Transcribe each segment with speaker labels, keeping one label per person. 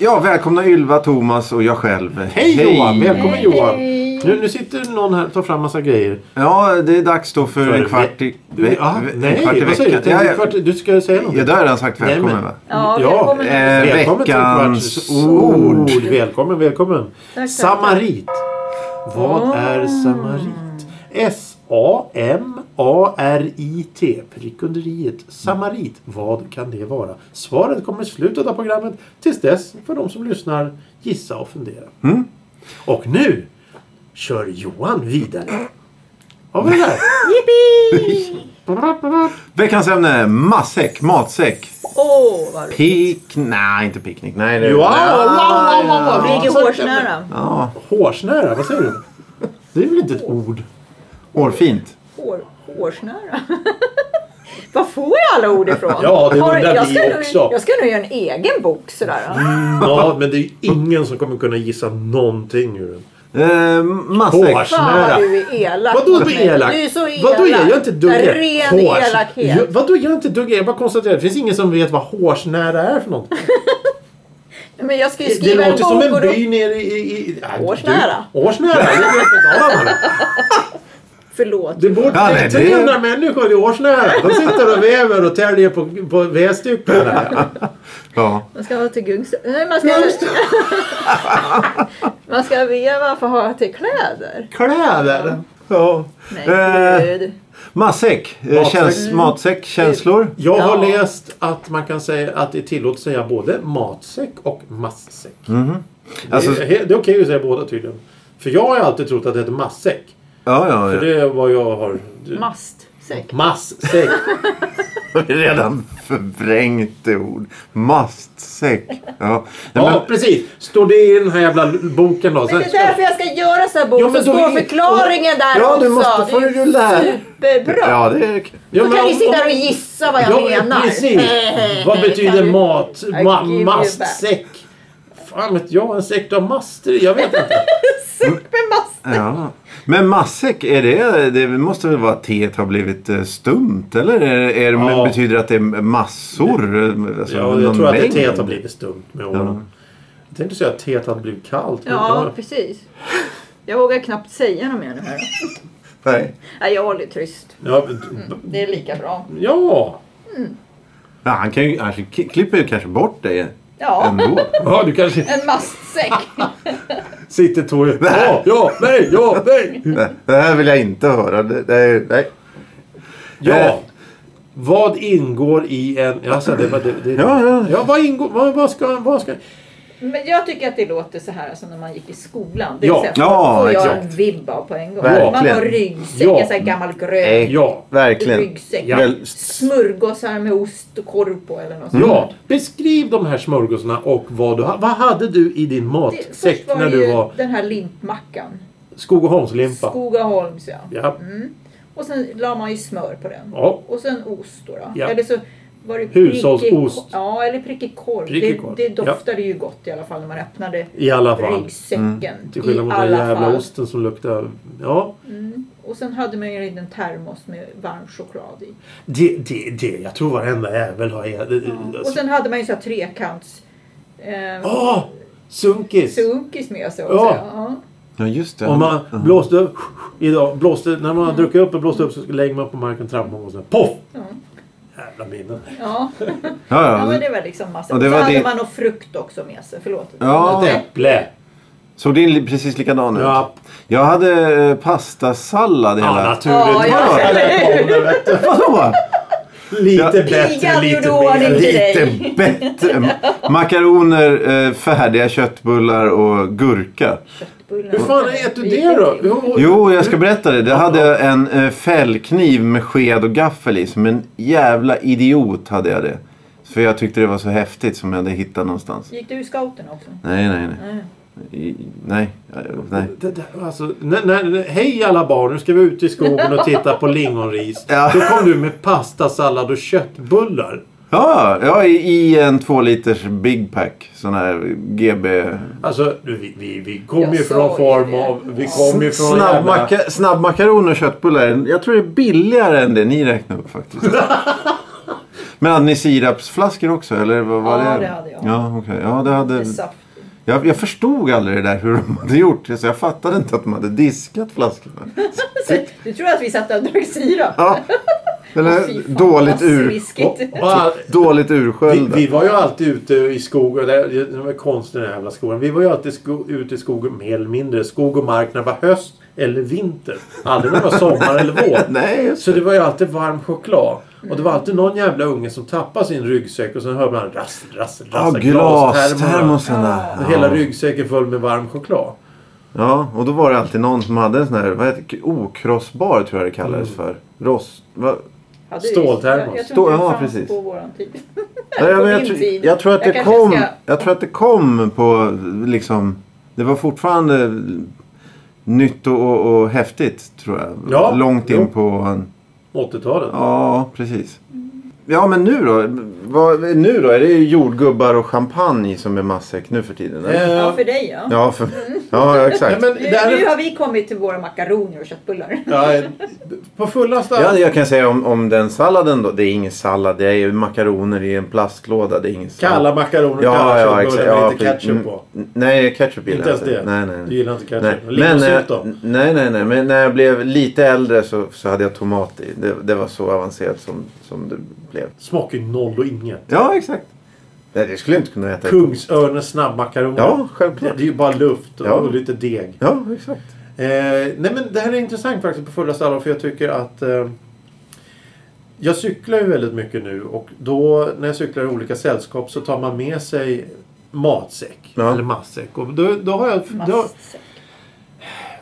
Speaker 1: Ja, välkomna Ylva, Thomas och jag själv.
Speaker 2: Hej, Johan! Välkommen
Speaker 3: Hej.
Speaker 2: Johan! Nu, nu sitter någon här och tar fram massa grejer.
Speaker 1: Ja, det är dags då för, en kvart i,
Speaker 2: Du,
Speaker 1: ve-
Speaker 2: ah,
Speaker 1: ve-
Speaker 2: nej,
Speaker 1: en kvart i
Speaker 2: vad säger
Speaker 1: veckan.
Speaker 2: du? Till
Speaker 1: Ja,
Speaker 2: en kvart,
Speaker 1: ja,
Speaker 2: du ska säga
Speaker 1: ja,
Speaker 2: någonting.
Speaker 1: då har jag redan sagt
Speaker 2: Nej, men-
Speaker 1: välkommen va?
Speaker 3: Ja,
Speaker 2: Ja,
Speaker 1: Eh,
Speaker 3: välkommen.
Speaker 2: Välkommen till
Speaker 1: veckans
Speaker 2: Kvarts
Speaker 1: ord.
Speaker 2: ord. Välkommen, välkommen.
Speaker 3: tack.
Speaker 2: Samarit. Vad är samarit? S-A-M-A-R-I-T. Prick under i-et. Samarit. Vad kan det vara? Svaret kommer i slutet av programmet. Tills dess, för de som lyssnar, gissa och fundera.
Speaker 1: Mm.
Speaker 2: Och nu kör Johan vidare. Har vi det där?
Speaker 1: Veckans ämne, matsäck, matsäck.
Speaker 3: Åh, vad roligt.
Speaker 1: Pick... Nej, inte picknick. Nej, det
Speaker 2: Wow, wow,
Speaker 1: Nej,
Speaker 2: wow, wow, wow.
Speaker 3: Det ligger
Speaker 2: Ja.
Speaker 3: hårsnära.
Speaker 1: Ja,
Speaker 2: Hårsnära, vad säger du? Det är väl inte ett ord?
Speaker 1: årfint.
Speaker 3: Hår, hårsnära? Var får jag alla ord ifrån?
Speaker 2: Ja, det
Speaker 3: Har-
Speaker 2: undrar
Speaker 3: jag
Speaker 2: vi
Speaker 3: ska nog-
Speaker 2: också.
Speaker 3: Jag ska nog göra en egen bok sådär.
Speaker 2: Ja, men det är ju ingen som kommer kunna gissa någonting ur den.
Speaker 1: Eh, matsäck.
Speaker 2: Hårs-
Speaker 3: Fan vad
Speaker 2: Snära.
Speaker 3: du är elak
Speaker 2: Vadå
Speaker 3: mot
Speaker 2: du
Speaker 3: mig.
Speaker 2: är elak?
Speaker 3: Du är så elak.
Speaker 2: Vadå är jag? Jag är inte ett dugg elak.
Speaker 3: Ren
Speaker 2: Hårs-
Speaker 3: elakhet.
Speaker 2: Jag, vadå jag är inte ett dugg elak? Jag bara konstaterar. Det finns ingen som vet vad hårsnära är för något.
Speaker 3: Men jag ska ju
Speaker 2: Det, det
Speaker 3: skriva
Speaker 2: låter
Speaker 3: en
Speaker 2: som
Speaker 3: bok och
Speaker 2: en
Speaker 3: då...
Speaker 2: by nere i... i, i nej,
Speaker 3: Hårsnära.
Speaker 2: du- Hårsnära? Det är väl på Dalarna.
Speaker 3: Förlåt.
Speaker 2: Det bor
Speaker 1: Ja, nej, det-
Speaker 2: 300 människor i Hårsnära. De sitter och väver och täljer på, på vedstycken.
Speaker 1: Ja.
Speaker 3: Man ska ha till gungs... Nej, man ska... man ska veva för att ha till kläder.
Speaker 2: Kläder. Ja.
Speaker 3: Nej,
Speaker 1: Eh.
Speaker 3: gud.
Speaker 1: Matsäck. eh,
Speaker 2: Matsäck. Mm.
Speaker 1: Käns- matsäck, känslor.
Speaker 2: Jag har
Speaker 3: Ja.
Speaker 2: läst att man kan säga att det är tillåtet att säga både matsäck och massäck.
Speaker 1: Alltså,
Speaker 2: det, är, he- det är okej att säga båda tydligen. För jag har ju alltid trott att det heter massäck.
Speaker 1: ja, ja,
Speaker 2: För
Speaker 1: ja.
Speaker 2: det är vad jag har...
Speaker 3: Mastsäck.
Speaker 2: Massäck.
Speaker 1: Vi har redan förvrängt det ord. Mastsäck. Ja. Nej,
Speaker 2: Ja,
Speaker 1: men,
Speaker 2: precis. Står det i den här jävla boken då?
Speaker 3: Men det är därför jag ska göra så här bok.
Speaker 2: Ja, men
Speaker 3: så
Speaker 2: då
Speaker 3: står
Speaker 2: är-
Speaker 3: förklaringen där
Speaker 1: Ja,
Speaker 3: också.
Speaker 1: du måste- får
Speaker 3: Det är
Speaker 1: du lära.
Speaker 3: Superbra.
Speaker 1: ja, det är
Speaker 2: Ja,
Speaker 3: Då
Speaker 2: men
Speaker 3: kan ni
Speaker 2: om-
Speaker 3: sitta
Speaker 2: om-
Speaker 3: här och gissa vad jag
Speaker 2: ja,
Speaker 3: menar.
Speaker 2: Precis.
Speaker 3: Eh,
Speaker 2: Vad
Speaker 3: kan
Speaker 2: betyder
Speaker 3: du-
Speaker 2: mat?
Speaker 3: I
Speaker 2: Ma
Speaker 3: give you
Speaker 2: mastsäck? Fan vet jag. En säck av master i. Jag vet inte.
Speaker 3: Med mast.
Speaker 1: Ja. Men matsäck, är det, det måste väl vara att teet har blivit eh, stumt? Eller är, det- är, det-
Speaker 2: Ja.
Speaker 1: betyder det att det är massor? eh, Alltså,
Speaker 2: Ja, jag
Speaker 1: någon
Speaker 2: tror att det
Speaker 1: mängd?
Speaker 2: teet har blivit stumt med åren. Jag tänkte säga att teet hade blivit kallt. men
Speaker 3: Ja,
Speaker 2: det-
Speaker 3: precis. Jag vågar knappt säga något mer nu. här.
Speaker 1: Nej.
Speaker 3: Nej, jag håller tyst.
Speaker 2: Ja, men-
Speaker 3: Det är lika bra.
Speaker 2: ja.
Speaker 1: Ja, han, kan ju, han k- klipper ju kanske bort det
Speaker 3: Ja,
Speaker 1: ändå.
Speaker 2: ja, du kanske
Speaker 3: en mastsäck.
Speaker 2: sitter Tore. Ja, ja, nej, ja, nej.
Speaker 1: Nej, det här vill jag inte höra. Det, det, är- nej.
Speaker 2: Ja. Vad ingår i en... Alltså, det, var- det, det,
Speaker 1: Ja, ja.
Speaker 2: vad ingår... Vad, vad ska... Vad ska
Speaker 3: Men jag tycker att det låter så här som när man gick i skolan. Det
Speaker 2: Ja,
Speaker 3: sättet
Speaker 1: ja,
Speaker 3: får jag en
Speaker 1: exakt.
Speaker 3: vibb av på en gång.
Speaker 1: Verkligen.
Speaker 3: Man har ryggsäck,
Speaker 2: Ja.
Speaker 3: en sån här gammal grön
Speaker 1: Nej,
Speaker 2: ja.
Speaker 1: Verkligen.
Speaker 3: ryggsäck.
Speaker 2: Ja.
Speaker 1: Väl-
Speaker 3: Smörgåsar med ost och korv på eller något sånt.
Speaker 2: Ja, beskriv de här smörgåsarna och vad du ha- Vad hade du i din
Speaker 3: Det-
Speaker 2: matsäck
Speaker 3: Först var
Speaker 2: när
Speaker 3: det
Speaker 2: du
Speaker 3: ju
Speaker 2: var
Speaker 3: den här limpmackan.
Speaker 2: Skogaholmslimpa?
Speaker 3: Skogaholms ja.
Speaker 2: Ja.
Speaker 3: Och sen la man ju smör på den.
Speaker 2: Ja.
Speaker 3: Och sen ost då. då.
Speaker 2: Ja.
Speaker 3: Eller så var det
Speaker 2: Hushållsost.
Speaker 3: prickig- Ja, eller prickig korv.
Speaker 2: Prickig korv.
Speaker 3: Det, det doftade ju gott i alla fall när man öppnade
Speaker 2: I alla fall. Mm.
Speaker 3: ryggsäcken.
Speaker 2: Till skillnad
Speaker 3: I
Speaker 2: mot den
Speaker 3: alla
Speaker 2: jävla
Speaker 3: fall.
Speaker 2: osten som luktar... Ja.
Speaker 3: Och sen hade man ju en liten termos med varm choklad i.
Speaker 2: Det, det, det. Jag tror varenda jävel har... Ja.
Speaker 3: Och sen hade man ju så här trekants...
Speaker 2: Ah.
Speaker 3: Eh,
Speaker 2: Åh! Sunkis!
Speaker 3: Sunkis med sig också.
Speaker 2: Ja.
Speaker 3: Ja.
Speaker 1: Ja, just det.
Speaker 2: Om man blåste upp... Idag, blåste, när man har druckit upp och blåst upp så lägger man på marken trampan och så poff!
Speaker 3: Ja.
Speaker 2: Jävla minnen.
Speaker 3: Ja. ja,
Speaker 1: ja,
Speaker 3: men
Speaker 1: ja.
Speaker 3: det var liksom massa.
Speaker 1: Ja,
Speaker 3: Och
Speaker 1: det
Speaker 3: så
Speaker 1: var
Speaker 3: hade
Speaker 1: det-
Speaker 3: man nog frukt också med sig. Förlåt.
Speaker 1: Ja.
Speaker 2: Ett äpple!
Speaker 1: Såg din li- precis likadan ut?
Speaker 2: Ja.
Speaker 1: Jag hade eh, pastasallad
Speaker 2: Ja,
Speaker 1: hela...
Speaker 3: Ja,
Speaker 2: naturligt.
Speaker 3: jag
Speaker 1: Vadå? Ja.
Speaker 2: Lite bättre,
Speaker 3: Pigan
Speaker 2: lite
Speaker 3: gjorde ordning.
Speaker 2: mer.
Speaker 1: Lite bättre. M- Makaroner, eh, färdiga köttbullar och gurka.
Speaker 3: Köttbullar.
Speaker 2: Hur fan
Speaker 3: Nej,
Speaker 2: ät du
Speaker 3: vi
Speaker 2: det
Speaker 3: gick
Speaker 2: då?
Speaker 3: inte.
Speaker 2: Jo,
Speaker 1: Jo, jag ska berätta det. Det hade jag en eh, fällkniv med sked och gaffel i. Som en jävla idiot hade jag det. För jag tyckte det var så häftigt som jag hade hittat någonstans.
Speaker 3: Gick du i scouten också?
Speaker 1: Nej, nej, nej.
Speaker 3: Nej.
Speaker 1: I- Nej, eh, nej.
Speaker 2: Det där, alltså, när, när, när, hej alla barn, nu ska vi ut i skogen och titta på lingonris.
Speaker 1: Ja.
Speaker 2: Då kom du med pastasallad och köttbullar.
Speaker 1: Ja, ja i, i en två liters Big Pack. Sån här GB...
Speaker 2: Alltså, nu, vi, vi, vi kom
Speaker 3: Jag
Speaker 2: ju från
Speaker 3: sa
Speaker 2: form
Speaker 3: ju det.
Speaker 2: av... Vi kom ju från jävla...
Speaker 1: Snabbmacka, snabbmakaroner och köttbullar. Jag tror det är billigare än det ni räknade upp faktiskt. Men hade ni sirapsflaskor också? Eller vad var
Speaker 3: Ja,
Speaker 1: det?
Speaker 3: det hade jag.
Speaker 1: Ja, okej. ja, det hade...
Speaker 3: Med saft.
Speaker 1: jag, jag förstod aldrig det där hur de hade gjort. det, Så jag fattade inte att de hade diskat flaskorna.
Speaker 3: Så, du tror att vi satt och drack sirap?
Speaker 1: Ja. Eller
Speaker 3: Fy fan,
Speaker 1: dåligt,
Speaker 3: vad
Speaker 1: ur,
Speaker 3: sviskigt.
Speaker 2: Och all-
Speaker 1: dåligt
Speaker 2: vi,
Speaker 1: ursköljda.
Speaker 2: vi var ju alltid ute i skogen. Det det var konstigt den här jävla skogen. Vi var ju alltid sko, ute i skogen mer eller mindre. Skog och mark när det var höst eller vinter. Aldrig när det var sommar eller vår.
Speaker 1: Nej, just
Speaker 2: Så det var ju alltid varm choklad. Och det var alltid någon jävla unge som tappade sin ryggsäck och sen hörde man rassel, rassel,
Speaker 1: Ja,
Speaker 2: rassel.
Speaker 1: glas,
Speaker 2: glastermorna.
Speaker 1: termosarna.
Speaker 2: Och alltså, Hela ryggsäcken full med varm choklad.
Speaker 1: Ja, och då var det alltid någon som hade en sån här vad heter, det? okrossbar tror jag det kallades
Speaker 2: Mm.
Speaker 1: för. Rost... Va?
Speaker 3: Ja, det är-
Speaker 2: Ståltermos.
Speaker 3: Jag, jag
Speaker 1: Stål-
Speaker 3: tror inte
Speaker 1: ja,
Speaker 3: det fanns
Speaker 1: precis.
Speaker 3: på våran tid.
Speaker 1: Nej,
Speaker 3: På
Speaker 1: men jag,
Speaker 3: min
Speaker 1: tror-
Speaker 3: tid.
Speaker 1: jag, tror att
Speaker 3: Jag
Speaker 1: det
Speaker 3: kanske
Speaker 1: kom,
Speaker 3: ska-
Speaker 1: jag tror att det kom på liksom... Det var fortfarande nytt och, och, och häftigt tror jag.
Speaker 2: Ja,
Speaker 1: Långt in
Speaker 2: jo.
Speaker 1: på... En,
Speaker 2: 80-talet.
Speaker 1: ja, precis. Ja, men nu då? Vad, nu då? Är det jordgubbar och champagne som är matsäck nu för tiden? eller?
Speaker 2: Eh,
Speaker 3: Ja, för dig ja.
Speaker 1: Ja, för, ja, ja,
Speaker 2: nej,
Speaker 1: exakt.
Speaker 2: men
Speaker 3: Nu,
Speaker 2: där-
Speaker 3: nu har vi kommit till våra makaroner och köttbullar.
Speaker 2: Ja, på fullaste
Speaker 1: Ja, jag kan säga om, om den salladen då. Det är ingen sallad. Det är ju makaroner i en plastlåda. Det är ingen sallad.
Speaker 2: Kalla makaroner och
Speaker 1: ja,
Speaker 2: kalla
Speaker 1: ja,
Speaker 2: köttbullar
Speaker 1: exakt.
Speaker 2: med
Speaker 1: Ja,
Speaker 2: lite ketchup
Speaker 1: mm,
Speaker 2: på.
Speaker 1: n- Nej, ketchup gillar
Speaker 2: Inte ens
Speaker 1: jag
Speaker 2: det?
Speaker 1: Nej, nej.
Speaker 2: Du gillar inte ketchup?
Speaker 1: nej.
Speaker 2: Nej. Lingonsylt
Speaker 1: eh,
Speaker 2: då?
Speaker 1: nej, nej, nej. Men när jag blev lite äldre så, så hade jag tomat i. Det, det var så avancerat som, som det blev.
Speaker 2: Smakar ju noll och inget.
Speaker 1: Ja, exakt. Nej, det skulle jag inte kunna äta.
Speaker 2: Kungsörnens snabbmakaroner.
Speaker 1: Ja,
Speaker 2: Det
Speaker 1: självklart.
Speaker 2: det är ju bara luft och,
Speaker 1: Ja.
Speaker 2: och lite deg.
Speaker 1: Ja, exakt.
Speaker 2: Eh, nej men det här är intressant faktiskt på fullaste allvar för jag tycker att eh, jag cyklar ju väldigt mycket nu och då när jag cyklar i olika sällskap så tar man med sig matsäck.
Speaker 1: Ja.
Speaker 2: Eller matsäck. Och då, då, har jag, då,
Speaker 3: Mastsäck.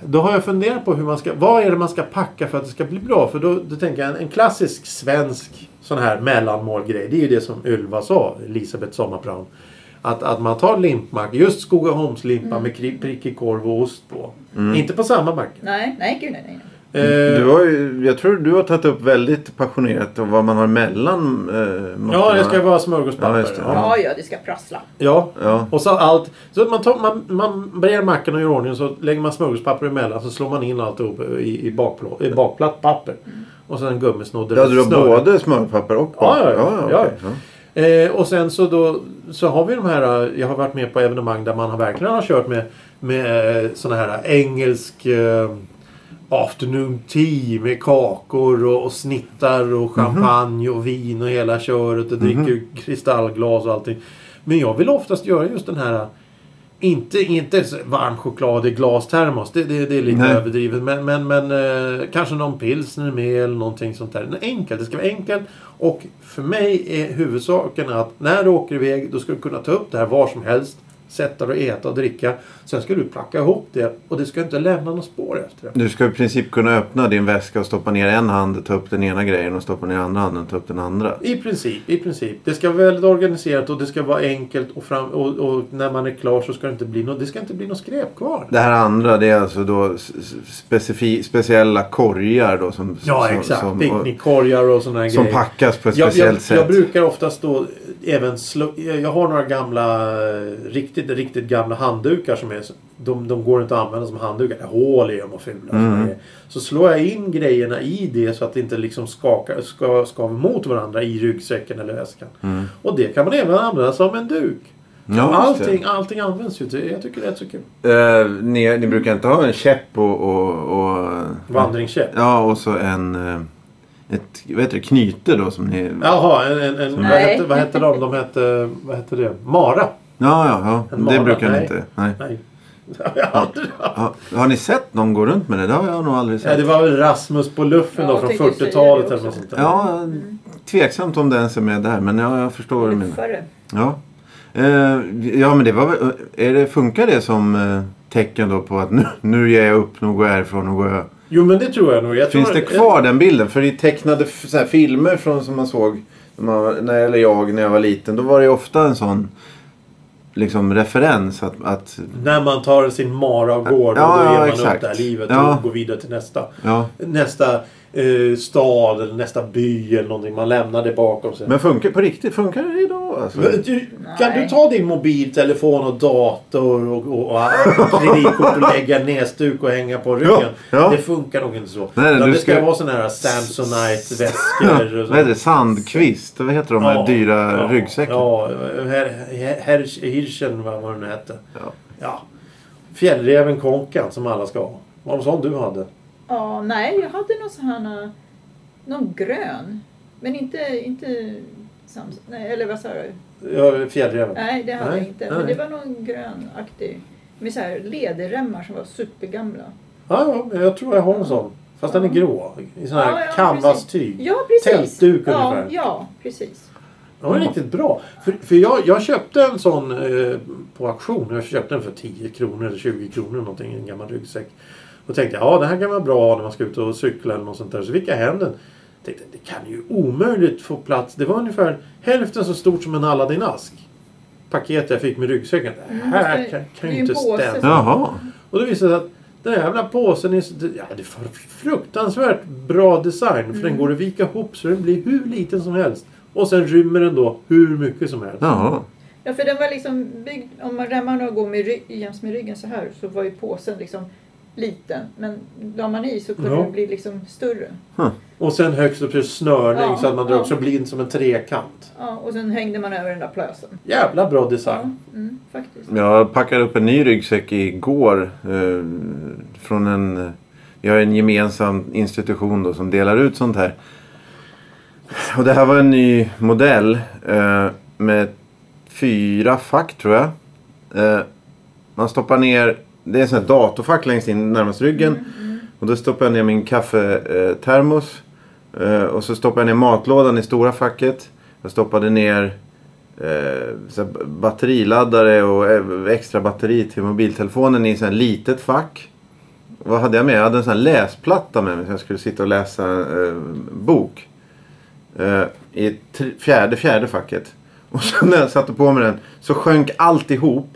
Speaker 2: då har jag funderat på hur man ska, vad är det man ska packa för att det ska bli bra. För då, då tänker jag en, en klassisk svensk sån här mellanmålgrej. Det är ju det som Ylva sa, Elisabeth Sommarplan. Att, att man tar limpmack, just Skogaholmslimpa med kri- prickig korv och ost på. Inte på samma mack.
Speaker 3: Nej, nej gud nej. nej.
Speaker 1: Mm. Du
Speaker 2: Eh,
Speaker 1: har ju, jag tror du har tagit upp väldigt passionerat om vad man har mellan eh,
Speaker 2: ja, det ska
Speaker 1: mattorna.
Speaker 2: vara
Speaker 1: Ja,
Speaker 2: smörgåspapper.
Speaker 1: just det.
Speaker 2: Ja,
Speaker 3: Ja, ja, det ska prassla.
Speaker 2: ja.
Speaker 1: Ja.
Speaker 2: Och så allt. Så man, tar, man, man brer mackan och gör ordning och så lägger man smörgåspapper emellan så slår man in alltihop i, i, bakplå, i bakplatt papper. Och sen gummisnodd.
Speaker 1: Då hade du
Speaker 2: snöre.
Speaker 1: både smörpapper och
Speaker 2: Ja, ja, ja.
Speaker 1: okej.
Speaker 2: Ja. Eh, och sen så då så har vi de här, eh, jag har varit med på evenemang där man har verkligen har kört med, med eh, såna här engelsk eh, afternoon tea med kakor och, och snittar och champagne och vin och hela köret och dricker kristallglas och allting. Men jag vill oftast göra just den här eh, inte, inte så varm choklad i glastermos. Det, det, det är lite
Speaker 1: Nej.
Speaker 2: överdrivet. Men, men, men eh, kanske någon pilsner med eller någonting sånt där. Enkelt. Det ska vara enkelt. Och för mig är huvudsaken att när du åker iväg då ska du kunna ta upp det här var som helst. Sätta dig och äta och dricka. Sen ska du placka ihop det och det ska inte lämna några spår efter det.
Speaker 1: Du ska i princip kunna öppna din väska och stoppa ner en hand och ta upp den ena grejen och stoppa ner andra handen och ta upp den andra.
Speaker 2: I princip, i princip. Det ska vara väldigt organiserat och det ska vara enkelt och, fram, och, och när man är klar så ska det inte bli något, det ska inte bli något skräp kvar.
Speaker 1: Det här andra det är alltså då s- s- specifi- speciella korgar då som,
Speaker 2: Ja,
Speaker 1: som,
Speaker 2: exakt.
Speaker 1: som, och,
Speaker 2: Picknickkorgar och sådana här
Speaker 1: som
Speaker 2: grejer.
Speaker 1: packas på ett
Speaker 2: jag, jag,
Speaker 1: speciellt sätt.
Speaker 2: jag brukar oftast då även slå, Jag har några gamla eh, riktigt, riktigt gamla handdukar som är... De, de går inte att använda som handdukar. Det är hål i dem och fula.
Speaker 1: Mm.
Speaker 2: såna grejer. Så slår jag in grejerna i det så att det inte liksom skakar, ska, skaver mot varandra i ryggsäcken eller väskan. Och det kan man även använda som en duk.
Speaker 1: Mm. ja, just det.
Speaker 2: allting, allting används ju. till- Jag tycker det är så kul.
Speaker 1: Eh, ni, ni brukar inte ha en käpp och... och, och
Speaker 2: Vandringskäpp.
Speaker 1: ja, och så en... eh, Ett, vad heter det? Knyte då som ni... Ja,
Speaker 2: Jaha, en, en, en, vad,
Speaker 3: Nej.
Speaker 2: hette, vad hette de? De hette... Vad hette det? Mara.
Speaker 1: ja, ja.
Speaker 2: En
Speaker 1: Det
Speaker 2: mara,
Speaker 1: brukar ni
Speaker 2: nej.
Speaker 1: inte. Nej.
Speaker 2: Nej. Det har jag aldrig haft.
Speaker 1: Ja, har ni sett någon gå runt med det? Det har jag nog aldrig
Speaker 2: Ja,
Speaker 1: sett.
Speaker 2: det var väl Rasmus på luffen
Speaker 3: Ja,
Speaker 2: då från
Speaker 3: jag tänkte säga
Speaker 2: 40-talet
Speaker 3: det
Speaker 2: eller något
Speaker 3: också.
Speaker 2: sånt där.
Speaker 1: Ja, tveksamt om det ens är med där. Men ja, jag förstår vad du menar.
Speaker 3: Förr.
Speaker 1: Ja. Eh, ja, men det var väl... eh, Är det, funkar det som eh, tecken då på att nu, nu ger jag upp, nu går jag härifrån, nu går jag...
Speaker 2: Jo men det tror jag nog. Jag
Speaker 1: Finns
Speaker 2: tror,
Speaker 1: det kvar den bilden? För i tecknade f- så här, filmer från, som man såg, när man, var- när, eller jag, när jag var liten, då var det ju ofta en sån liksom referens att... att
Speaker 2: När man tar sin mara och går
Speaker 1: Ja,
Speaker 2: och då
Speaker 1: ja,
Speaker 2: ger man
Speaker 1: exakt.
Speaker 2: upp det här livet
Speaker 1: Ja.
Speaker 2: och går vidare till nästa.
Speaker 1: ja.
Speaker 2: Nästa eh, stad eller nästa by eller någonting. Man lämnar det bakom sig.
Speaker 1: Men funkar på riktigt? Funkar det idag? Alltså?
Speaker 2: Men du, kan du
Speaker 3: Nej.
Speaker 2: ta din mobiltelefon och dator och, och, och kreditkort och lägga nedstuk och hänga på ryggen?
Speaker 1: Ja, ja.
Speaker 2: Det funkar nog inte så.
Speaker 1: Nej,
Speaker 2: Utan
Speaker 1: du
Speaker 2: det ska
Speaker 1: ska-
Speaker 2: vara sådana här Samsonite-väskor. och så.
Speaker 1: Vad heter det? Sandkvist? Vad heter de här
Speaker 2: Ja,
Speaker 1: dyra
Speaker 2: ja,
Speaker 1: ryggsäckarna?
Speaker 2: Ja, Her- Her- Her- Hirschen vad vad den nu hette.
Speaker 1: Ja.
Speaker 2: Ja. Fjällräven Konkan som alla ska ha. Vad var sån du hade?
Speaker 3: Ja, nej, jag hade någon sån här... eh, Någon grön. Men inte... inte Samsung. Nej, eller vad sa du?
Speaker 2: Ja, Fjällräven.
Speaker 3: Nej, det hade
Speaker 2: Nej,
Speaker 3: jag inte.
Speaker 2: nej.
Speaker 3: Men det var någon grönaktig. Med så här lederemmar som var supergamla.
Speaker 2: Ja, ja, jag tror jag har en sån. Fast den är grå. I sån här
Speaker 3: Ja, ja,
Speaker 2: canvas-tyg.
Speaker 3: Ja, precis.
Speaker 2: Tältduk
Speaker 3: ja,
Speaker 2: ungefär.
Speaker 3: Ja, precis.
Speaker 2: Den var riktigt bra. För, för jag, jag köpte en sån eh, på auktion. Jag köpte den för 10 kronor eller 20 kronor eller någonting. En gammal ryggsäck. Och tänkte ja den här kan vara bra när man ska ut och cykla eller något sånt där. Så fick jag hem den. Tänkte det kan ju omöjligt få plats. Det var ungefär hälften så stort som en Aladdin-ask. Paket jag fick med ryggsäcken. Det
Speaker 3: Mm, det
Speaker 2: här
Speaker 3: är-
Speaker 2: kan,
Speaker 3: det
Speaker 2: kan
Speaker 3: är
Speaker 2: ju
Speaker 3: ju
Speaker 2: inte
Speaker 3: en påse
Speaker 2: stämma.
Speaker 3: som-
Speaker 1: Jaha.
Speaker 2: Och det visade sig att den här jävla påsen är, så- ja, det är för- fruktansvärt bra design. För den går att vika ihop så den blir hur liten som helst. Och sen rymmer den då hur mycket som helst.
Speaker 1: Jaha.
Speaker 3: Ja, för den var liksom byggd... Om man remmarna går med ry- jäms med ryggen så här så var ju påsen liksom liten. Men la man i så kunde
Speaker 2: Ja.
Speaker 3: den bli liksom större.
Speaker 2: Och sen högst upp till snörning
Speaker 3: Ja,
Speaker 2: så att man drar
Speaker 3: ja.
Speaker 2: upp så blind som en trekant.
Speaker 3: Ja, och sen hängde man över den där plösen.
Speaker 2: Jävla bra design.
Speaker 3: Mm, faktiskt.
Speaker 1: Jag packade upp en ny ryggsäck igår. Eh, från en... Vi har en gemensam institution då som delar ut sånt här. Och det här var en ny modell. Eh, med fyra fack tror jag. Eh, man stoppar ner... Det är en sån här datorfack längst in närmast ryggen. Och då stoppar jag ner min kaffetermos. Eh, och så stoppar jag ner matlådan i stora facket. Jag stoppade ner eh, så här b- batteriladdare och eh, extra batteri till mobiltelefonen i ett litet fack. Vad hade jag med? Jag hade en sån här läsplatta med mig så jag skulle sitta och läsa eh, bok. Eh, I tr- fjärde, fjärde facket. Och sen när jag satte på mig den så sjönk allt ihop.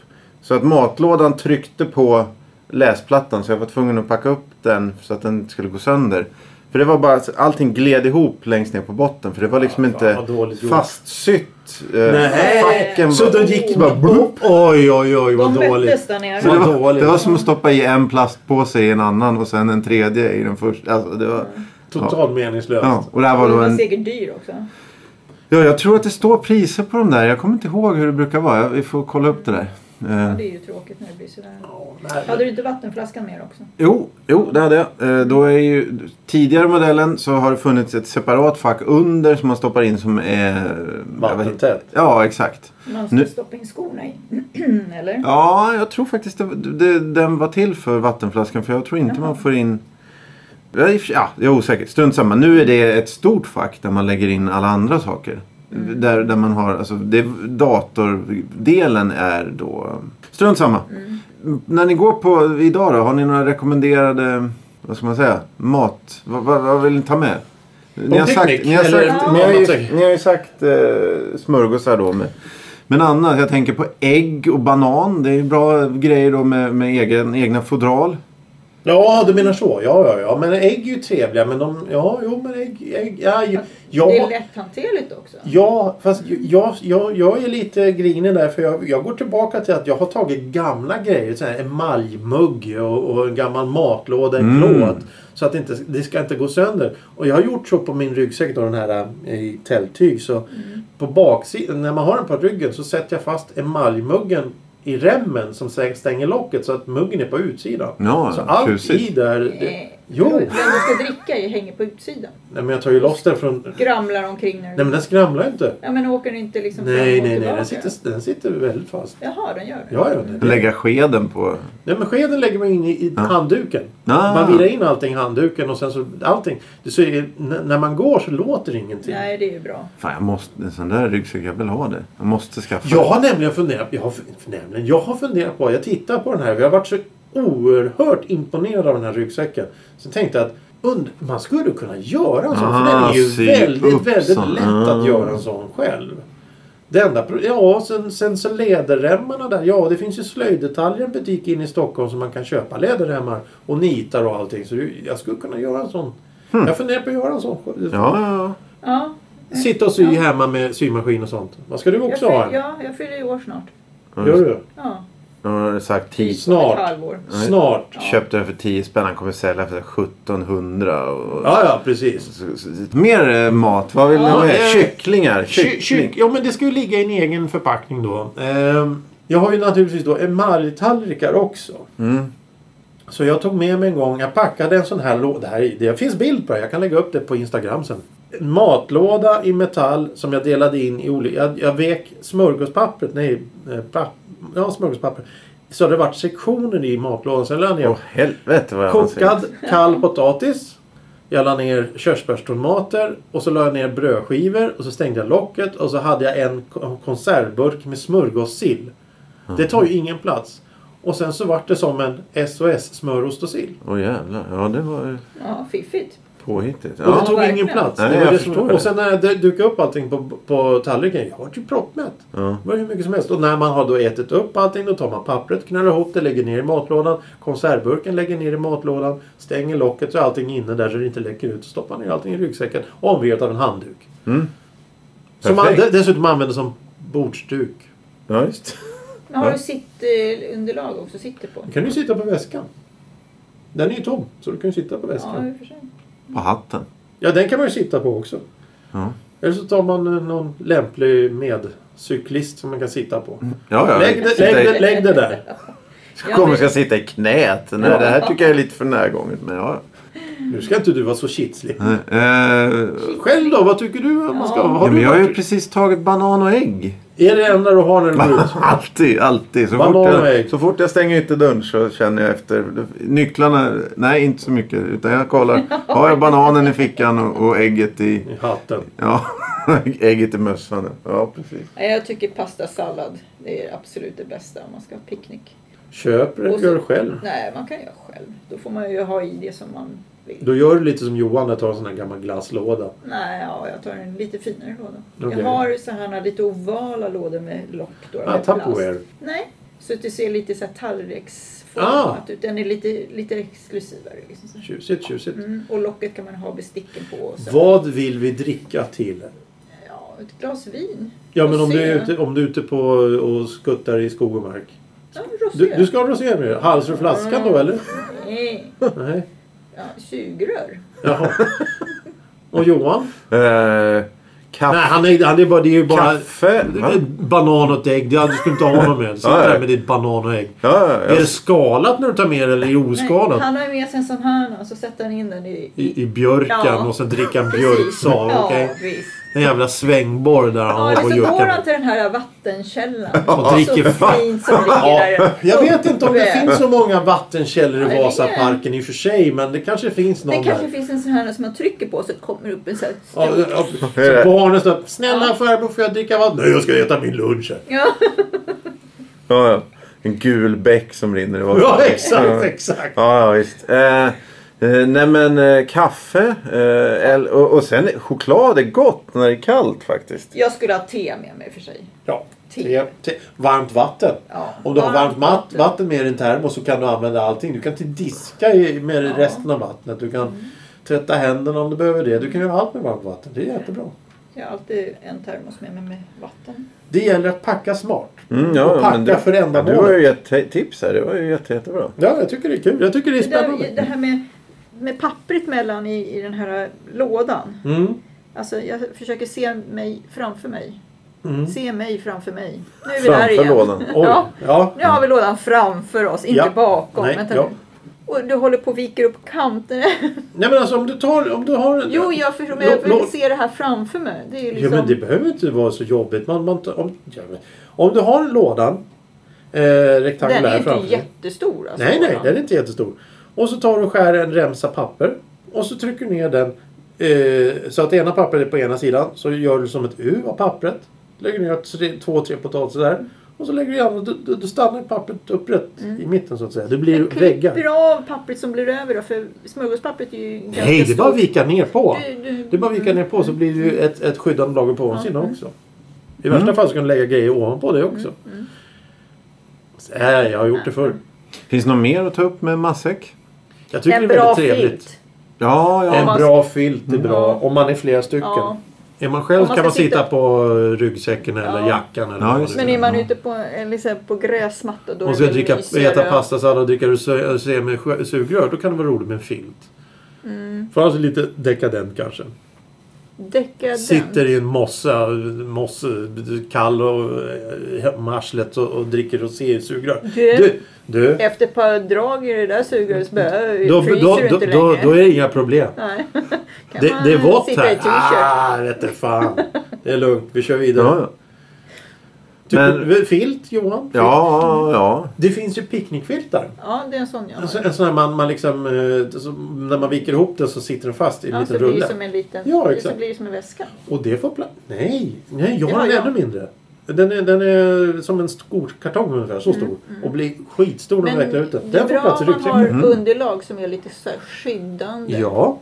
Speaker 1: Så att matlådan tryckte på läsplattan så jag var tvungen att packa upp den så att den inte skulle gå sönder. För det var bara, allting gled ihop längst ner på botten för det var liksom
Speaker 2: Ja, fan,
Speaker 1: inte
Speaker 2: vad dåligt gjort.
Speaker 1: fastsytt. eh,
Speaker 2: Nej.
Speaker 1: Facken
Speaker 2: Så
Speaker 1: var-
Speaker 2: då gick
Speaker 1: bara
Speaker 2: man upp. Oj, oj, oj vad
Speaker 3: De
Speaker 2: dåligt.
Speaker 3: möttes där nere.
Speaker 1: Så det,
Speaker 2: Vad
Speaker 1: var,
Speaker 2: dåligt.
Speaker 1: det var som att stoppa i en plastpåse i en annan och sen en tredje i den första. Alltså, det var,
Speaker 2: Totalt meningslöst.
Speaker 1: ja. Och det här var
Speaker 3: Den
Speaker 1: då
Speaker 3: var
Speaker 1: en,
Speaker 3: säkert dyr också.
Speaker 1: ja, jag tror att det står priser på de där. Jag kommer inte ihåg hur det brukar vara. Jag- Vi får kolla upp det där. Eh,
Speaker 3: Det är ju tråkigt när det blir sådär.
Speaker 2: Ja, nej.
Speaker 3: Hade du inte vattenflaskan med också?
Speaker 1: jo, jo, det hade jag. Eh, då är ju, tidigare modellen så har det funnits ett separat fack under som man stoppar in som är...
Speaker 2: Vattentätt.
Speaker 1: Ja, exakt.
Speaker 3: Man ska
Speaker 1: Nu-
Speaker 3: stoppa in skorna i. Eller?
Speaker 1: Ja, jag tror faktiskt det, det, den var till för vattenflaskan. För jag tror inte man får in... Ja, i och för sig- ja, jag är osäker. Strunt samma. Nu är det ett stort fack där man lägger in alla andra saker. Där, där man har, alltså det, datordelen är då... Strunt samma. När ni går på idag då, har ni några rekommenderade, vad ska man säga, mat? Vad, vad, vad vill ni ta med? Ni har,
Speaker 2: Picknick,
Speaker 1: sagt, ni, har
Speaker 2: eller
Speaker 1: sagt,
Speaker 3: något
Speaker 1: ni, har ju,
Speaker 2: annat.
Speaker 1: ni har ju sagt eh, smörgåsar då. Med. Men annars, jag tänker på ägg och banan. Det är ju bra grejer då med, med egen, egna fodral.
Speaker 2: Ja, du menar så. Ja, ja, ja. Men ägg är ju trevliga. Men de... Ja, jo, men ägg... ägg ja, ju- jag...
Speaker 3: Det är lätthanterligt också.
Speaker 2: Ja, fast jag, jag, jag är lite grinig där för jag, jag går tillbaka till att jag har tagit gamla grejer. Så här emaljmugg och, och en gammal matlåda i
Speaker 1: Mm.
Speaker 2: plåt. Så att det inte, det ska inte gå sönder. Och jag har gjort så på min ryggsäck då den här eh, i tälttyg. Så på baksidan, när man har den på ryggen så sätter jag fast emaljmuggen i remmen som sen stänger locket så att muggen är på utsidan.
Speaker 1: Ja,
Speaker 2: så allt
Speaker 1: tjusigt.
Speaker 2: i där... Det,
Speaker 3: Nej,
Speaker 2: jo!
Speaker 3: Den du Eh, ska dricka i hänger på utsidan.
Speaker 2: Nej, men jag tar ju loss den från... Nej
Speaker 3: Gramlar omkring när du...
Speaker 2: men den skramlar ju inte.
Speaker 3: Ja men åker den inte liksom fram
Speaker 2: Nej,
Speaker 3: och
Speaker 2: nej, nej.
Speaker 3: tillbaka?
Speaker 2: Den sitter, den sitter väldigt fast.
Speaker 3: Jaha, den gör det?
Speaker 2: Ja, ja. Det.
Speaker 1: Lägga skeden på.
Speaker 2: Nej, men skeden lägger man in i, i handduken.
Speaker 1: Ah.
Speaker 2: Man virar in allting i handduken och sen så allting. Det så är, n- när man går så låter det ingenting.
Speaker 3: Nej, det är ju bra.
Speaker 1: Fan, jag måste, en sån där ryggsäck, jag vill ha det. Jag måste skaffa
Speaker 2: Jag har nämligen funderat, jag har, fun- nämligen, jag har funderat på, jag tittar på den här, vi har varit så oerhört imponerad av den här ryggsäcken. Så jag tänkte att und, man skulle kunna göra en sån, för den
Speaker 1: Ah,
Speaker 2: är ju
Speaker 1: sy
Speaker 2: väldigt,
Speaker 1: upp
Speaker 2: väldigt
Speaker 1: sån.
Speaker 2: lätt
Speaker 1: Ah.
Speaker 2: att göra en sån själv. Det enda, pro- ja, sen, sen så läderremmarna där. Ja, det finns ju slöjddetaljer i en butik inne i Stockholm som man kan köpa läderremmar och nitar och allting. Så det- jag skulle kunna göra en sån. Jag funderar på att göra en sån.
Speaker 1: Hmm. Ja, ja, ja.
Speaker 3: Ja,
Speaker 2: Sitta och sy hemma med symaskin och sånt. Vad ska du
Speaker 3: jag,
Speaker 2: också ha?
Speaker 3: fyller,
Speaker 2: en?
Speaker 3: ja, jag fyller ju år snart.
Speaker 1: ja.
Speaker 2: Gör du?
Speaker 3: Ja,
Speaker 1: Nu har jag sagt 10
Speaker 3: om ett
Speaker 2: Snart.
Speaker 3: halvår.
Speaker 1: Nej.
Speaker 2: Snart.
Speaker 1: Köpte den för 10 spänn. Han kommer sälja för 1700. Och...
Speaker 2: Ja, ja, precis.
Speaker 1: Så- så- så- Mer eh, mat. Vad vill ni ha
Speaker 2: Ja,
Speaker 1: mer?
Speaker 2: eh,
Speaker 1: Kycklingar.
Speaker 2: Ky-
Speaker 1: Kyckling.
Speaker 2: kyck- ja, men det ska ju ligga i en egen förpackning då. Ehm, jag har ju naturligtvis då emaljtallrikar också.
Speaker 1: Mm.
Speaker 2: Så jag tog med mig en gång, jag packade en sån här låda. Det, här, är- det finns bild på det, jag kan lägga upp det på Instagram sen. En matlåda i metall som jag delade in i olika... Jag, jag vek smörgåspappret, nej, eh, papp, ja, smörgåspapper. Så det vart sektioner i matlådan. Sen lade jag ner
Speaker 1: Åh helvete vad jag har
Speaker 2: Kokad kall potatis. Jag la ner körsbärstomater och så la jag ner brödskivor och så stängde jag locket och så hade jag en ko- konservburk med smörgåssill. Det tar ju ingen plats. Och sen så vart det som en SOS smörost och sill.
Speaker 1: Åh jävlar. Ja det var ju
Speaker 3: Ja, fiffigt.
Speaker 1: påhittigt.
Speaker 2: Och det
Speaker 1: Ja.
Speaker 2: tog
Speaker 3: verkligen.
Speaker 2: ingen plats.
Speaker 1: Nej,
Speaker 2: det var
Speaker 1: jag
Speaker 2: det som,
Speaker 1: förstår det.
Speaker 2: och sen när jag d- dukade upp allting på, på tallriken. Jag var ju proppmätt.
Speaker 1: Ja.
Speaker 2: Det var hur mycket som helst. Och när man har då ätit upp allting då tar man pappret, knallar ihop det, lägger ner i matlådan. Konservburken lägger ner i matlådan. Stänger locket så är allting inne där så det inte läcker ut. Stoppar ner allting i ryggsäcken. Omvirret av en handduk.
Speaker 1: Mm.
Speaker 2: Som man
Speaker 1: Perfekt.
Speaker 2: d- dessutom använder som bordsduk.
Speaker 1: ja just
Speaker 3: Men har
Speaker 1: Ja.
Speaker 3: du sitt eh, underlag också? Sitter på?
Speaker 2: Då kan du ju sitta på väskan. Den är ju tom, så du kan ju sitta på
Speaker 3: Ja,
Speaker 2: väskan.
Speaker 3: i och för sig.
Speaker 1: På hatten.
Speaker 2: Ja, den kan man ju sitta på också.
Speaker 1: Ja.
Speaker 2: Eller så tar man eh, någon lämplig medcyklist som man kan sitta på.
Speaker 1: Ja, ja.
Speaker 2: Lägg det,
Speaker 1: Sitta i-
Speaker 2: lägg det, lägg det där.
Speaker 3: Ja,
Speaker 1: Kommer
Speaker 3: men-
Speaker 1: ska sitta i knät. Nej, det här tycker jag är lite för närgånget. Men ja.
Speaker 2: Nu ska inte du vara så kitslig.
Speaker 1: Eh,
Speaker 2: Själv då? Vad tycker du att man ska ha? Har
Speaker 1: ja, men
Speaker 2: du
Speaker 1: jag har ju
Speaker 2: varit-
Speaker 1: precis tagit banan och ägg.
Speaker 2: Är det det enda du har när du går ut?
Speaker 1: alltid, alltid. Så
Speaker 2: Banan
Speaker 1: fort,
Speaker 2: och
Speaker 1: jag,
Speaker 2: ägg.
Speaker 1: så fort jag stänger ytterdörren så känner jag efter. Nycklarna, nej inte så mycket. Utan jag kollar. Har jag bananen i fickan och, och ägget i...
Speaker 2: I hatten.
Speaker 1: Ja, ägget i mössan. Ja, precis.
Speaker 3: Nej, Jag tycker pastasallad det är absolut det bästa om man ska ha picknick.
Speaker 2: Köper
Speaker 3: Och
Speaker 2: eller
Speaker 3: så-
Speaker 2: gör själv?
Speaker 3: Nej, man kan göra själv. Då får man ju ha i det som man vill.
Speaker 2: Då gör du lite som Johan och tar en sån här gammal glasslåda.
Speaker 3: Nej, ja, jag tar en lite finare låda.
Speaker 2: Okej.
Speaker 3: Jag har så här lite ovala lådor med lock. Då,
Speaker 2: Ah,
Speaker 3: med plast.
Speaker 2: Tupperware.
Speaker 3: Nej, så att det ser lite så här tallriksformat
Speaker 2: Ah.
Speaker 3: ut. Den är lite, lite exklusivare. Liksom. så här.
Speaker 2: Tjusigt, tjusigt.
Speaker 3: Mm, och locket kan man ha besticken på. Och så.
Speaker 2: Vad vill vi dricka till?
Speaker 3: Ja, ett glas vin.
Speaker 2: Ja, men om du är
Speaker 3: Rosé.
Speaker 2: ute, om du är ute på och skuttar i skog och mark.
Speaker 3: Ja, rosé.
Speaker 2: Du, du ska ha rosé med dig? Hals ur flaskan
Speaker 3: Mm.
Speaker 2: då eller?
Speaker 3: Nej.
Speaker 2: Nej.
Speaker 3: Ja, sugrör.
Speaker 2: Jaha. Och Johan?
Speaker 1: Eh, kaffe.
Speaker 2: Nej, han är, han är bara... Det är ju bara...
Speaker 1: Kaffe? Va?
Speaker 2: Banan och ett ägg. Det hade- Du skulle inte ha honom med. Sitta
Speaker 1: Nej.
Speaker 2: där med ditt banan och ägg.
Speaker 1: Ja, ja,
Speaker 2: Är
Speaker 1: ja.
Speaker 2: det skalat när du tar med det eller är det
Speaker 3: Nej,
Speaker 2: oskalat?
Speaker 3: han har ju med sig en sån här nu och så sätter han in den i...
Speaker 2: I, I björkan
Speaker 3: Ja.
Speaker 2: och sen dricka en
Speaker 3: Precis.
Speaker 2: björksav.
Speaker 3: Ja,
Speaker 2: Okej.
Speaker 3: visst.
Speaker 2: En jävla svängborr där han håller på
Speaker 3: Ja, eller
Speaker 2: och
Speaker 3: så går han
Speaker 2: juckar.
Speaker 3: till den här vattenkällan.
Speaker 2: Och
Speaker 3: Så
Speaker 2: dricker
Speaker 3: fint som ligger där.
Speaker 2: Jag vet inte om det
Speaker 3: Väl.
Speaker 2: finns så många vattenkällor
Speaker 3: Nej,
Speaker 2: i
Speaker 3: det är-
Speaker 2: Vasaparken i och för sig. Men det kanske finns
Speaker 3: Det
Speaker 2: någon
Speaker 3: kanske
Speaker 2: där.
Speaker 3: finns en sån här som man trycker på så kommer det upp en sån här
Speaker 2: Ja,
Speaker 3: stor...
Speaker 2: ja, så barnen står Snälla farbror får jag dricka vatten? Nej jag ska äta min lunch här.
Speaker 3: Ja,
Speaker 1: Ja, ja. En gul bäck som rinner i vattnet.
Speaker 2: Ja exakt, exakt.
Speaker 1: Ja, ja visst. Eh, eh, nej men eh, kaffe eh, el, och, och sen choklad är gott när det är kallt faktiskt.
Speaker 3: jag skulle ha te med mig i och för sig.
Speaker 2: Ja.
Speaker 3: Te.
Speaker 2: Te, te. Varmt vatten.
Speaker 3: Ja.
Speaker 2: Om du har varmt
Speaker 3: Varmt
Speaker 2: mat,
Speaker 3: vatten.
Speaker 2: vatten med i din termos så kan du använda allting. Du kan till diska i- med
Speaker 3: Ja. Mm.
Speaker 2: resten av vattnet. Du kan tvätta händerna om du behöver det. Du kan göra allt med varmt vatten. Det är jättebra.
Speaker 3: Jag har alltid en termos med mig med vatten.
Speaker 2: Det gäller att packa smart.
Speaker 1: Mm, ja,
Speaker 2: och packa
Speaker 1: men du,
Speaker 2: för
Speaker 1: ja, du har
Speaker 2: ändamålet.
Speaker 1: ju gett te- tips här. Det var ju jätte, jättebra.
Speaker 2: Ja, jag tycker det är kul. Jag tycker det är
Speaker 3: Det, där, det
Speaker 2: spännande.
Speaker 3: här med, med pappret mellan i, i den här lådan.
Speaker 2: Mm.
Speaker 3: Alltså jag försöker se mig framför mig.
Speaker 2: Mm.
Speaker 3: Se mig framför mig. Nu är vi där
Speaker 1: Framför
Speaker 3: igen.
Speaker 1: lådan.
Speaker 2: Oj.
Speaker 3: Ja.
Speaker 2: Ja.
Speaker 3: Nu har vi lådan framför oss, inte
Speaker 2: Ja.
Speaker 3: bakom.
Speaker 2: Nej,
Speaker 3: Vänta
Speaker 2: ja.
Speaker 3: nu. Och du håller på och viker upp kanterna.
Speaker 2: Nej men alltså om du tar... Om du har en,
Speaker 3: jo, jag förstår, men
Speaker 2: Lå-
Speaker 3: jag
Speaker 2: lå-
Speaker 3: vill se det här framför mig. Det är ju
Speaker 2: Ja,
Speaker 3: liksom...
Speaker 2: men det behöver inte vara så jobbigt. Man, man, tar- om, ja, men, om du har lådan eh, rektangulär
Speaker 3: den är ju inte
Speaker 2: framför dig.
Speaker 3: jättestor. Alltså,
Speaker 2: Nej, nej,
Speaker 3: lådan.
Speaker 2: den är inte jättestor. Och så tar du och skär en remsa papper. Och så trycker du ner den eh, så att det ena pappret är på ena sidan. Så gör du som ett U av pappret. Lägger ner tre, två, tre potatisar där. Och så lägger du igen och du, du, du stannar pappret upprätt i mitten så att säga. Det blir väggar.
Speaker 3: Mm. Klipper av pappret som blir över då, för smörgåspappret är ju ganska
Speaker 2: Nej, det är bara att
Speaker 3: stort.
Speaker 2: vika ner på.
Speaker 3: Du- du- mm,
Speaker 2: Det är bara att vika ner på så blir det ju ett, ett skyddande lager på ovansidan också. I värsta fall så kan du lägga grejer ovanpå
Speaker 3: Mm,
Speaker 2: det också. Så här, jag har gjort det förr.
Speaker 1: Finns det något mer att ta upp med matsäck?
Speaker 2: Jag tycker
Speaker 3: en
Speaker 2: det är
Speaker 3: bra
Speaker 2: väldigt trevligt.
Speaker 3: filt.
Speaker 1: Ja, ja.
Speaker 2: En
Speaker 3: man- Mm.
Speaker 2: bra filt är bra.
Speaker 3: Ja.
Speaker 2: Om man är flera stycken.
Speaker 3: Ja.
Speaker 2: Är man själv
Speaker 3: Om man
Speaker 2: kan man
Speaker 3: ska
Speaker 2: sitta
Speaker 3: sitta-
Speaker 2: på ryggsäcken eller
Speaker 3: Ja.
Speaker 2: jackan. Eller
Speaker 1: Ja,
Speaker 2: vad
Speaker 1: just
Speaker 2: det
Speaker 3: Men
Speaker 2: nu
Speaker 3: är man
Speaker 1: Ja.
Speaker 3: ute på, eller så här, på gräsmatta då
Speaker 2: Om man
Speaker 3: är
Speaker 2: ska
Speaker 3: det
Speaker 2: dricka,
Speaker 3: mysigare.
Speaker 2: äta pastasallad och dricka rosé med sjö- sugrör då kan det vara roligt med en filt.
Speaker 3: Mm.
Speaker 2: För alltså lite dekadent kanske.
Speaker 3: Dekadent.
Speaker 2: Sitter i en mossa, mosse, kall och eh, om arslet och, och dricker rosésugrör.
Speaker 3: Du-
Speaker 2: Du, du,
Speaker 3: Efter ett par drag i det där sugröret så bara,
Speaker 2: då,
Speaker 3: fryser
Speaker 2: då,
Speaker 3: du
Speaker 2: då,
Speaker 3: inte
Speaker 2: då,
Speaker 3: längre.
Speaker 2: då är det inga problem.
Speaker 3: Nej. Kan
Speaker 2: Det,
Speaker 3: man
Speaker 2: det är vått
Speaker 3: sitta i
Speaker 2: här.
Speaker 3: t-shirt?
Speaker 2: Ah, vete fan. Det är lugnt, vi kör vidare.
Speaker 1: ja, ja.
Speaker 2: Tycker
Speaker 1: Men-
Speaker 2: du- filt Johan? Filt?
Speaker 1: ja, ja.
Speaker 2: Det finns ju picknickfiltar.
Speaker 3: Ja, det är en sån jag har.
Speaker 2: Alltså, en sån här man, man liksom, eh, som- när man viker ihop den så sitter den fast i en
Speaker 3: ja, så
Speaker 2: liten
Speaker 3: blir
Speaker 2: rulle.
Speaker 3: det som en liten...
Speaker 2: Ja,
Speaker 3: det-
Speaker 2: exakt.
Speaker 3: Så blir det som en väska.
Speaker 2: Och det får plats. Nej, nej jag
Speaker 3: Det
Speaker 2: har
Speaker 3: har
Speaker 2: en
Speaker 3: jag.
Speaker 2: ännu mindre. Den är, den är som en skokartong ungefär, så stor. Och blir skitstor när man räknar ut den.
Speaker 3: Mm, det är
Speaker 2: Den får
Speaker 3: bra
Speaker 2: plats i
Speaker 3: om man har
Speaker 2: ryggsäcken. Mm.
Speaker 3: underlag som är lite så här skyddande
Speaker 2: Ja,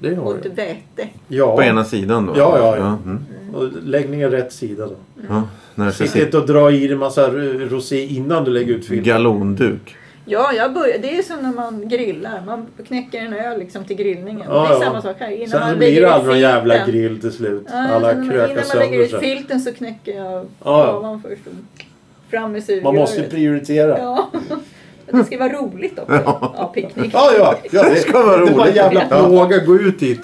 Speaker 2: det har
Speaker 3: mot
Speaker 2: jag.
Speaker 3: väte.
Speaker 2: Ja.
Speaker 1: På ena sidan då?
Speaker 2: Ja, ja, ja.
Speaker 1: mm.
Speaker 2: Och läggningen rätt sida då.
Speaker 1: ja. När det ska
Speaker 2: Sitt
Speaker 1: sitta
Speaker 2: inte och dra i dig en massa r- rosé innan du lägger ut filten.
Speaker 1: galonduk.
Speaker 3: Ja, jag börjar, det är som när man grillar. Man knäcker en öl liksom till grillningen.
Speaker 2: Ja,
Speaker 3: det är
Speaker 2: ja.
Speaker 3: samma sak här. Innan
Speaker 2: Sen
Speaker 3: man
Speaker 2: blir
Speaker 3: lägger
Speaker 2: det
Speaker 3: ut
Speaker 2: aldrig någon jävla
Speaker 3: filten-
Speaker 2: grill till slut.
Speaker 3: Ja,
Speaker 2: Alla
Speaker 3: sen när man-
Speaker 2: krökar
Speaker 3: Innan man lägger
Speaker 2: sönder
Speaker 3: ut
Speaker 2: sig.
Speaker 3: filten så knäcker jag
Speaker 2: ja.
Speaker 3: ovan först. och Fram med sugröret.
Speaker 2: Man måste prioritera.
Speaker 3: Ja. Men Det ska vara roligt också. Ja, picknick.
Speaker 2: Ja, ja, ja
Speaker 1: Det ska vara
Speaker 2: Det var en
Speaker 1: roligt.
Speaker 2: jävla
Speaker 1: Ja.
Speaker 2: plåga att gå ut dit.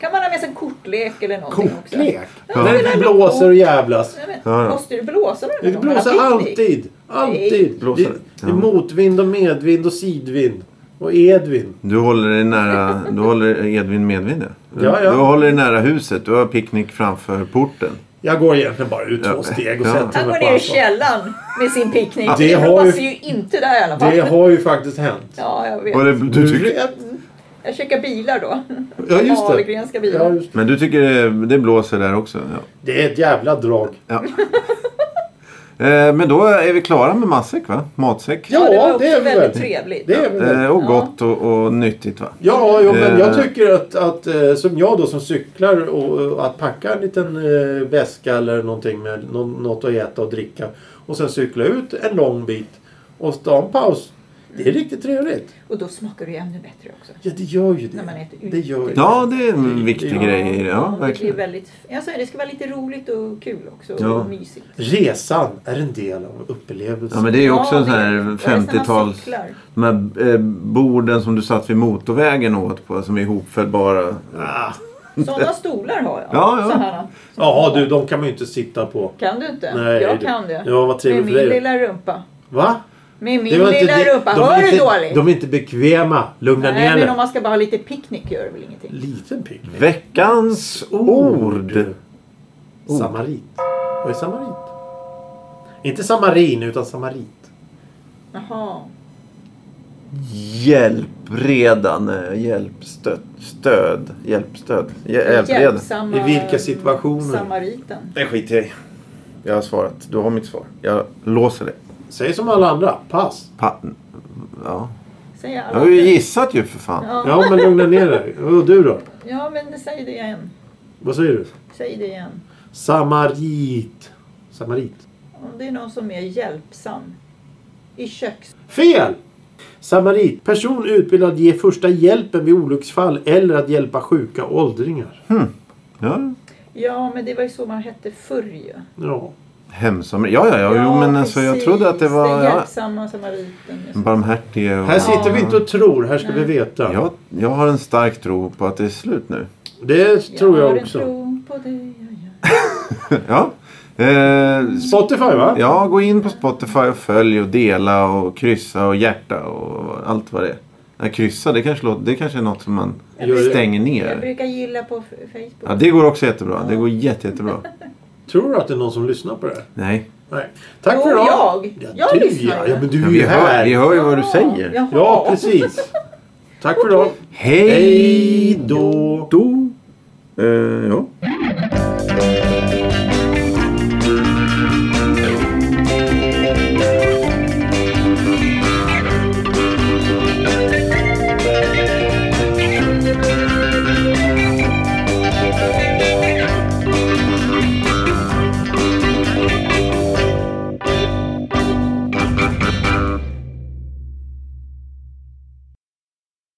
Speaker 3: Kan man ha med sig en kortlek eller någonting också?
Speaker 2: Kortlek?
Speaker 1: Ja.
Speaker 2: När det blåser och jävlas.
Speaker 3: Nej, men,
Speaker 1: Ja, ja.
Speaker 3: Måste du blåsa med
Speaker 2: Det
Speaker 3: den?
Speaker 2: blåser alltid.
Speaker 3: Nej.
Speaker 2: Alltid.
Speaker 1: Blåser.
Speaker 2: Det, det är
Speaker 1: Ja.
Speaker 2: motvind och medvind och sidvind. Och edvind.
Speaker 1: Du håller dig nära... Du håller Edvin medvind ja. Du-
Speaker 2: Ja, ja.
Speaker 1: Du håller dig nära huset. Du har picknick framför porten.
Speaker 2: Jag går egentligen bara ut
Speaker 1: Ja.
Speaker 2: två steg och
Speaker 1: Ja.
Speaker 2: sen tar
Speaker 3: Han
Speaker 2: jag
Speaker 3: går
Speaker 2: på
Speaker 3: ner i
Speaker 2: ansvar.
Speaker 3: källaren med sin picknick.
Speaker 2: Det
Speaker 3: Det
Speaker 2: har
Speaker 3: blåser
Speaker 2: ju-
Speaker 3: ju inte där i alla fall.
Speaker 2: Det har ju faktiskt hänt.
Speaker 3: Ja, jag vet.
Speaker 1: Och det, du
Speaker 2: Du
Speaker 1: tycker,
Speaker 2: vet.
Speaker 3: Jag käkar bilar då.
Speaker 2: Ja, just det.
Speaker 3: Ahlgrenska bilar.
Speaker 2: Ja, just det.
Speaker 1: men du tycker det, det blåser där också? Ja.
Speaker 2: det är ett jävla drag.
Speaker 1: Ja. Eh, Men då är vi klara med matsäck va? Matsäck.
Speaker 2: Ja,
Speaker 3: det var också
Speaker 2: det är vi väl.
Speaker 3: väldigt trevligt.
Speaker 2: Det är väl det.
Speaker 1: Eh, Och gott och, och nyttigt va?
Speaker 2: Ja, jo, men jag
Speaker 1: Eh.
Speaker 2: tycker att, att eh, som jag då som cyklar och, och att packa en liten eh, väska eller någonting med nå- något att äta och dricka och sen cykla ut en lång bit och ta en paus. Det är riktigt trevligt.
Speaker 3: Och då smakar det ju ännu bättre också.
Speaker 2: Ja, det gör ju det.
Speaker 3: När man äter ute.
Speaker 2: det gör ju
Speaker 1: Ja, det är en viktig
Speaker 2: Ja.
Speaker 1: grej. i det. Ja,
Speaker 3: det, blir
Speaker 1: verkligen.
Speaker 3: väldigt, alltså, det ska vara lite roligt och kul också.
Speaker 1: Ja.
Speaker 3: Och mysigt.
Speaker 2: Resan är en del av upplevelsen.
Speaker 1: Ja, men det är ju också
Speaker 3: Ja,
Speaker 1: en sån här
Speaker 3: det- ja, det är samma
Speaker 1: 50-tals...
Speaker 3: cyklar.
Speaker 1: De här eh, borden som du satt vid motorvägen åt på som är ihopfällbara.
Speaker 2: ah.
Speaker 3: Sådana stolar har jag.
Speaker 1: Ja, ja.
Speaker 3: Så här.
Speaker 2: ja du, de kan man ju inte sitta på.
Speaker 3: Kan du inte?
Speaker 2: Nej,
Speaker 3: jag
Speaker 2: du.
Speaker 3: kan det.
Speaker 2: Ja, vad trevligt
Speaker 3: Med
Speaker 2: för
Speaker 3: min
Speaker 2: dig.
Speaker 3: lilla rumpa.
Speaker 2: Va?
Speaker 3: Med min
Speaker 2: Det var inte
Speaker 3: lilla
Speaker 2: det-
Speaker 3: rumpa.
Speaker 2: de är
Speaker 3: Hör
Speaker 2: inte,
Speaker 3: du dåligt?
Speaker 2: De är inte bekväma. Lugna
Speaker 3: Nej,
Speaker 2: ner
Speaker 3: men om
Speaker 2: dig.
Speaker 3: man ska bara ha lite picknick gör det väl ingenting.
Speaker 2: Liten pick.
Speaker 1: Veckans ord. Ord.
Speaker 2: Samarit. Vad är samarit? Inte samarin utan samarit.
Speaker 3: Jaha.
Speaker 1: Hjälpredan. Hjälpstöd. Stöd. Hjälpstöd. Hjälpredan.
Speaker 3: Hjälpsamma,
Speaker 2: I vilka situationer?
Speaker 3: Samariten.
Speaker 1: Det skiter jag i. Jag har svarat. Du har mitt svar. Jag låser det.
Speaker 2: Säg som alla andra. Pass.
Speaker 1: Pa- ja.
Speaker 3: Säger jag.
Speaker 1: Jag har ju gissat ju för fan.
Speaker 3: ja.
Speaker 2: Ja, men lugna ner dig. Och du då?
Speaker 3: ja, men säg det igen.
Speaker 2: Vad säger du?
Speaker 3: Säg det igen.
Speaker 2: Samarit. Samarit.
Speaker 3: Om det är någon som är hjälpsam. I köks...
Speaker 2: Fel! Samarit. Person utbildad att ge första hjälpen vid olycksfall eller att hjälpa sjuka åldringar.
Speaker 1: Ja.
Speaker 3: Ja, men det var ju så man hette förr ju.
Speaker 2: Ja.
Speaker 1: Hemsam. Ja, ja, ja. Jo, men alltså jag
Speaker 3: precis.
Speaker 1: trodde att det var...
Speaker 3: Den
Speaker 1: Ja,
Speaker 3: hjälpsamma samariten.
Speaker 1: barmhärtige och...
Speaker 2: Här sitter vi inte och tror. Här ska vi veta.
Speaker 1: Jag, jag har en stark tro på att det är slut nu.
Speaker 2: Det tror
Speaker 3: har
Speaker 2: jag
Speaker 3: en
Speaker 2: också.
Speaker 3: tro på dig, jag gör.
Speaker 1: Ja. Eh,
Speaker 2: Spotify va?
Speaker 1: ja, gå in på Spotify och följ och dela och kryssa och hjärta och allt vad det är. Ja, kryssa, det kanske, låter, det kanske är något som man
Speaker 2: Gör det.
Speaker 1: stänger
Speaker 3: Jag
Speaker 1: ner.
Speaker 3: brukar gilla på f- Facebook.
Speaker 1: Ja, det går också jättebra. Det går jätte, jättebra.
Speaker 2: Tror du att det är någon som lyssnar på det här?
Speaker 1: Nej.
Speaker 2: Nej. Tack
Speaker 3: Jo,
Speaker 2: för idag.
Speaker 3: jag. Jag
Speaker 2: du,
Speaker 3: lyssnar
Speaker 2: ja.
Speaker 3: ju.
Speaker 2: Ja, men du
Speaker 1: Ja,
Speaker 2: är
Speaker 1: vi,
Speaker 2: ju
Speaker 1: hör,
Speaker 2: här.
Speaker 1: vi hör ju vad du
Speaker 3: Ja,
Speaker 1: säger.
Speaker 2: Ja, precis. Tack för idag.
Speaker 1: Hej
Speaker 2: Hej då.
Speaker 1: då! Eh, ja.